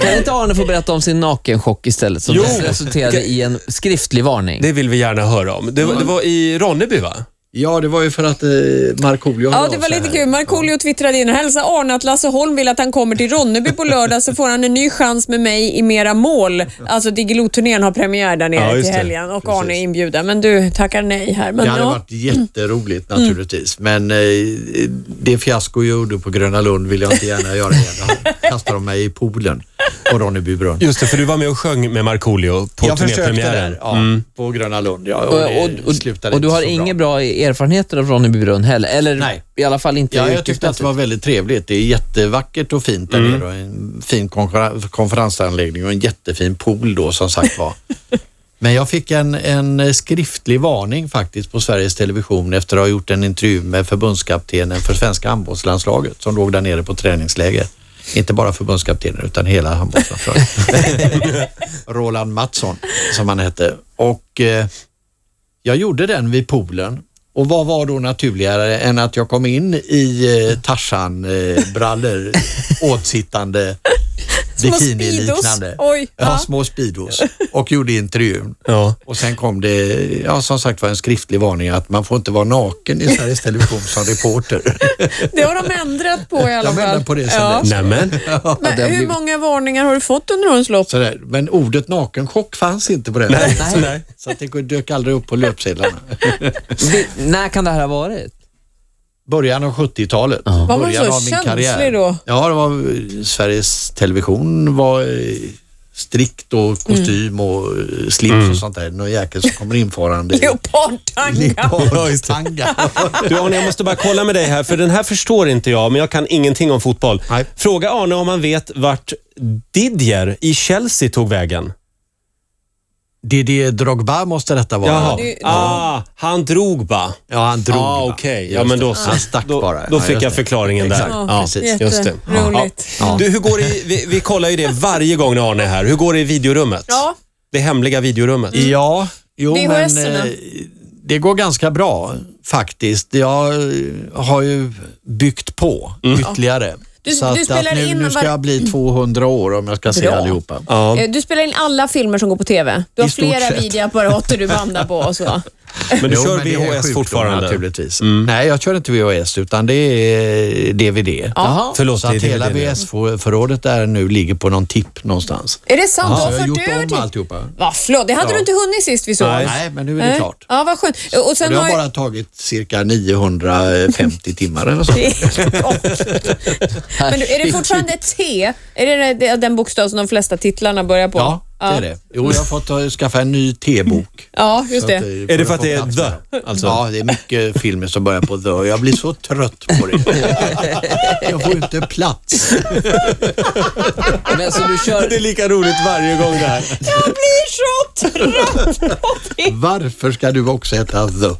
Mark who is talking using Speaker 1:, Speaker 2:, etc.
Speaker 1: Kan inte Arne få berätta om sin nakenchock istället som
Speaker 2: Jo.
Speaker 1: resulterade i en skriftlig varning?
Speaker 2: Det vill vi gärna höra om. Det, var- det var i Ronneby, va?
Speaker 3: Ja, det var ju för att eh, Markoolio hörde
Speaker 4: Ja, det
Speaker 3: av
Speaker 4: var
Speaker 3: sig
Speaker 4: lite
Speaker 3: här.
Speaker 4: kul. Markoolio twittrade in och hälsa Arne att Lasse Holm vill att han kommer till Ronneby på lördag så får han en ny chans med mig i mera mål. Alltså Diggiloo-turnén har premiär där
Speaker 2: Ja,
Speaker 4: nere
Speaker 2: just
Speaker 4: till
Speaker 2: det.
Speaker 4: helgen och
Speaker 3: Precis.
Speaker 4: Arne är inbjuden. Men du tackar nej här. Men
Speaker 3: Det hade
Speaker 4: ja. Mm.
Speaker 3: varit jätteroligt naturligtvis, men eh, det fiasko jag gjorde på Gröna Lund vill jag inte gärna göra igen. Då kastar de mig i poolen på Ronneby brunn.
Speaker 2: Just det, för du var med och sjöng med Markoolio på
Speaker 3: Jag försökte
Speaker 2: turnépremiären.
Speaker 3: där, ja, på Gröna Lund. Ja, och, det
Speaker 1: och, och,
Speaker 3: slutade
Speaker 1: och du
Speaker 3: inte
Speaker 1: har
Speaker 3: så bra.
Speaker 1: inga bra erfarenheter av Ronneby brunn heller? Eller
Speaker 3: Nej.
Speaker 1: i alla fall inte
Speaker 3: Ja, jag
Speaker 1: yrkesmässigt.
Speaker 3: tyckte att det var väldigt trevligt. Det är jättevackert och fint där nere och en fin konfer- konferensanläggning och en jättefin pool då som sagt var. Men jag fick en, en skriftlig varning faktiskt på Sveriges Television efter att ha gjort en intervju med förbundskaptenen för svenska handbollslandslaget som låg där nere på träningsläger. Inte bara förbundskaptenen utan hela handbollslandslaget. Roland Mattsson som han hette. Och eh, jag gjorde den vid poolen och vad var då naturligare än att jag kom in i eh, Tarzan-brallor, åtsittande,
Speaker 4: Små
Speaker 3: bikini-liknande.
Speaker 4: Speedos. Oj,
Speaker 3: Ja,
Speaker 4: ja.
Speaker 3: små Speedos och gjorde intervjun.
Speaker 2: Ja.
Speaker 3: Och sen kom det, ja som sagt var en skriftlig varning att man får inte vara naken i Sveriges Television som reporter.
Speaker 4: Det har de ändrat på i alla
Speaker 3: De
Speaker 4: fall.
Speaker 3: ändrar på det sen dess.
Speaker 2: Nämen.
Speaker 4: Men
Speaker 1: det har
Speaker 4: hur
Speaker 1: blivit-
Speaker 4: många varningar har du fått under årens lopp?
Speaker 3: Sådär. Men ordet nakenchock fanns inte på den
Speaker 2: Nej,
Speaker 3: tiden.
Speaker 2: nej.
Speaker 3: Så att det dök aldrig upp på löpsedlarna.
Speaker 1: Vi- när kan det här ha varit?
Speaker 3: Början av 70-talet.
Speaker 4: Var man
Speaker 3: Början
Speaker 4: så
Speaker 3: av min
Speaker 4: känslig
Speaker 3: karriär.
Speaker 4: då?
Speaker 3: Ja, det var, Sveriges Television var eh, strikt
Speaker 4: Mm.
Speaker 3: och kostym och eh, slips
Speaker 2: Mm.
Speaker 3: och sånt där. Någon jäkel som kommer infarande i
Speaker 4: Leopardtanga.
Speaker 2: Ja, just det.
Speaker 3: tanga.
Speaker 2: Du Arne, jag måste bara kolla med dig här, för den här förstår inte jag, men jag kan ingenting om fotboll.
Speaker 3: Nej.
Speaker 2: Fråga Arne om han vet vart Didier i Chelsea tog vägen.
Speaker 3: Didier Drogba måste detta
Speaker 2: Jaha.
Speaker 3: vara.
Speaker 2: Ah, han drog bara.
Speaker 3: Ja, han drog.
Speaker 2: Ah,
Speaker 3: va?
Speaker 2: okej.
Speaker 3: Just
Speaker 2: Ja, men
Speaker 3: det.
Speaker 2: då,
Speaker 3: han stack
Speaker 2: då,
Speaker 3: bara.
Speaker 2: Då
Speaker 3: Ja,
Speaker 2: fick
Speaker 3: just
Speaker 2: jag
Speaker 3: det.
Speaker 2: förklaringen där.
Speaker 3: Exakt.
Speaker 2: Ja.
Speaker 3: precis.
Speaker 2: Just det. Ja.
Speaker 4: Roligt.
Speaker 3: Ja.
Speaker 2: Du, hur går det i, vi, vi kollar ju det varje gång när Arne är här. Hur går det i videorummet?
Speaker 4: Ja.
Speaker 2: Det hemliga videorummet.
Speaker 3: Ja, jo men
Speaker 4: VHS-erna.
Speaker 3: eh, det går ganska bra faktiskt. Jag eh, har ju byggt på
Speaker 2: Mm.
Speaker 3: ytterligare.
Speaker 4: Du-
Speaker 3: så att,
Speaker 4: du spelar
Speaker 3: att nu,
Speaker 4: in
Speaker 3: nu ska
Speaker 4: var- Mm.
Speaker 3: jag bli 200 år om jag ska se
Speaker 4: Bra.
Speaker 3: allihopa.
Speaker 2: Ja.
Speaker 4: Eh, Du spelar in alla filmer som går på TV. Du har
Speaker 3: I stort
Speaker 4: flera
Speaker 3: sett.
Speaker 4: videoapparater du bandar på och så.
Speaker 2: Men du
Speaker 3: Jo,
Speaker 2: kör
Speaker 3: men det är en
Speaker 2: VHS
Speaker 3: sjukdom
Speaker 2: fortfarande? Mm.
Speaker 3: Naturligtvis. Nej, jag kör inte VHS utan det är DVD.
Speaker 1: Jaha.
Speaker 2: Förlåt,
Speaker 3: Så att
Speaker 2: det är
Speaker 3: hela
Speaker 2: DVD nu.
Speaker 3: VHS-förrådet där nu ligger på någon tipp någonstans.
Speaker 4: Är det sant?
Speaker 3: Så jag
Speaker 4: du har
Speaker 3: har
Speaker 4: fört
Speaker 3: gjort
Speaker 4: över
Speaker 3: om
Speaker 4: till...
Speaker 3: alltihopa.
Speaker 4: Vad förlåt, det hade du inte hunnit sist vi såg.
Speaker 3: Nej, men nu är det
Speaker 4: Nej.
Speaker 3: klart.
Speaker 4: Ja, vad skönt. Och
Speaker 3: Och
Speaker 4: sen
Speaker 3: det har
Speaker 4: har
Speaker 3: bara tagit cirka 950 timmar eller så.
Speaker 4: Men du, är det fortfarande T? Är det den- det- den bokstav som de flesta titlarna börjar på?
Speaker 3: Ja, det är det. Jo, jag har fått eh, skaffa en ny T-bok.
Speaker 4: Ja, just
Speaker 3: Så att, eh,
Speaker 4: det.
Speaker 2: Är det för
Speaker 3: får
Speaker 2: att det
Speaker 3: jag
Speaker 2: är
Speaker 3: få plats
Speaker 2: the? Alltså-
Speaker 3: med. Ja, det är mycket filmer som börjar på the. Jag blir så trött på det. Jag får inte plats.
Speaker 1: Men så du
Speaker 2: Det
Speaker 1: kör...
Speaker 2: är lika roligt varje gång det här.
Speaker 4: Jag blir så trött på det.
Speaker 3: Varför ska du också heta the?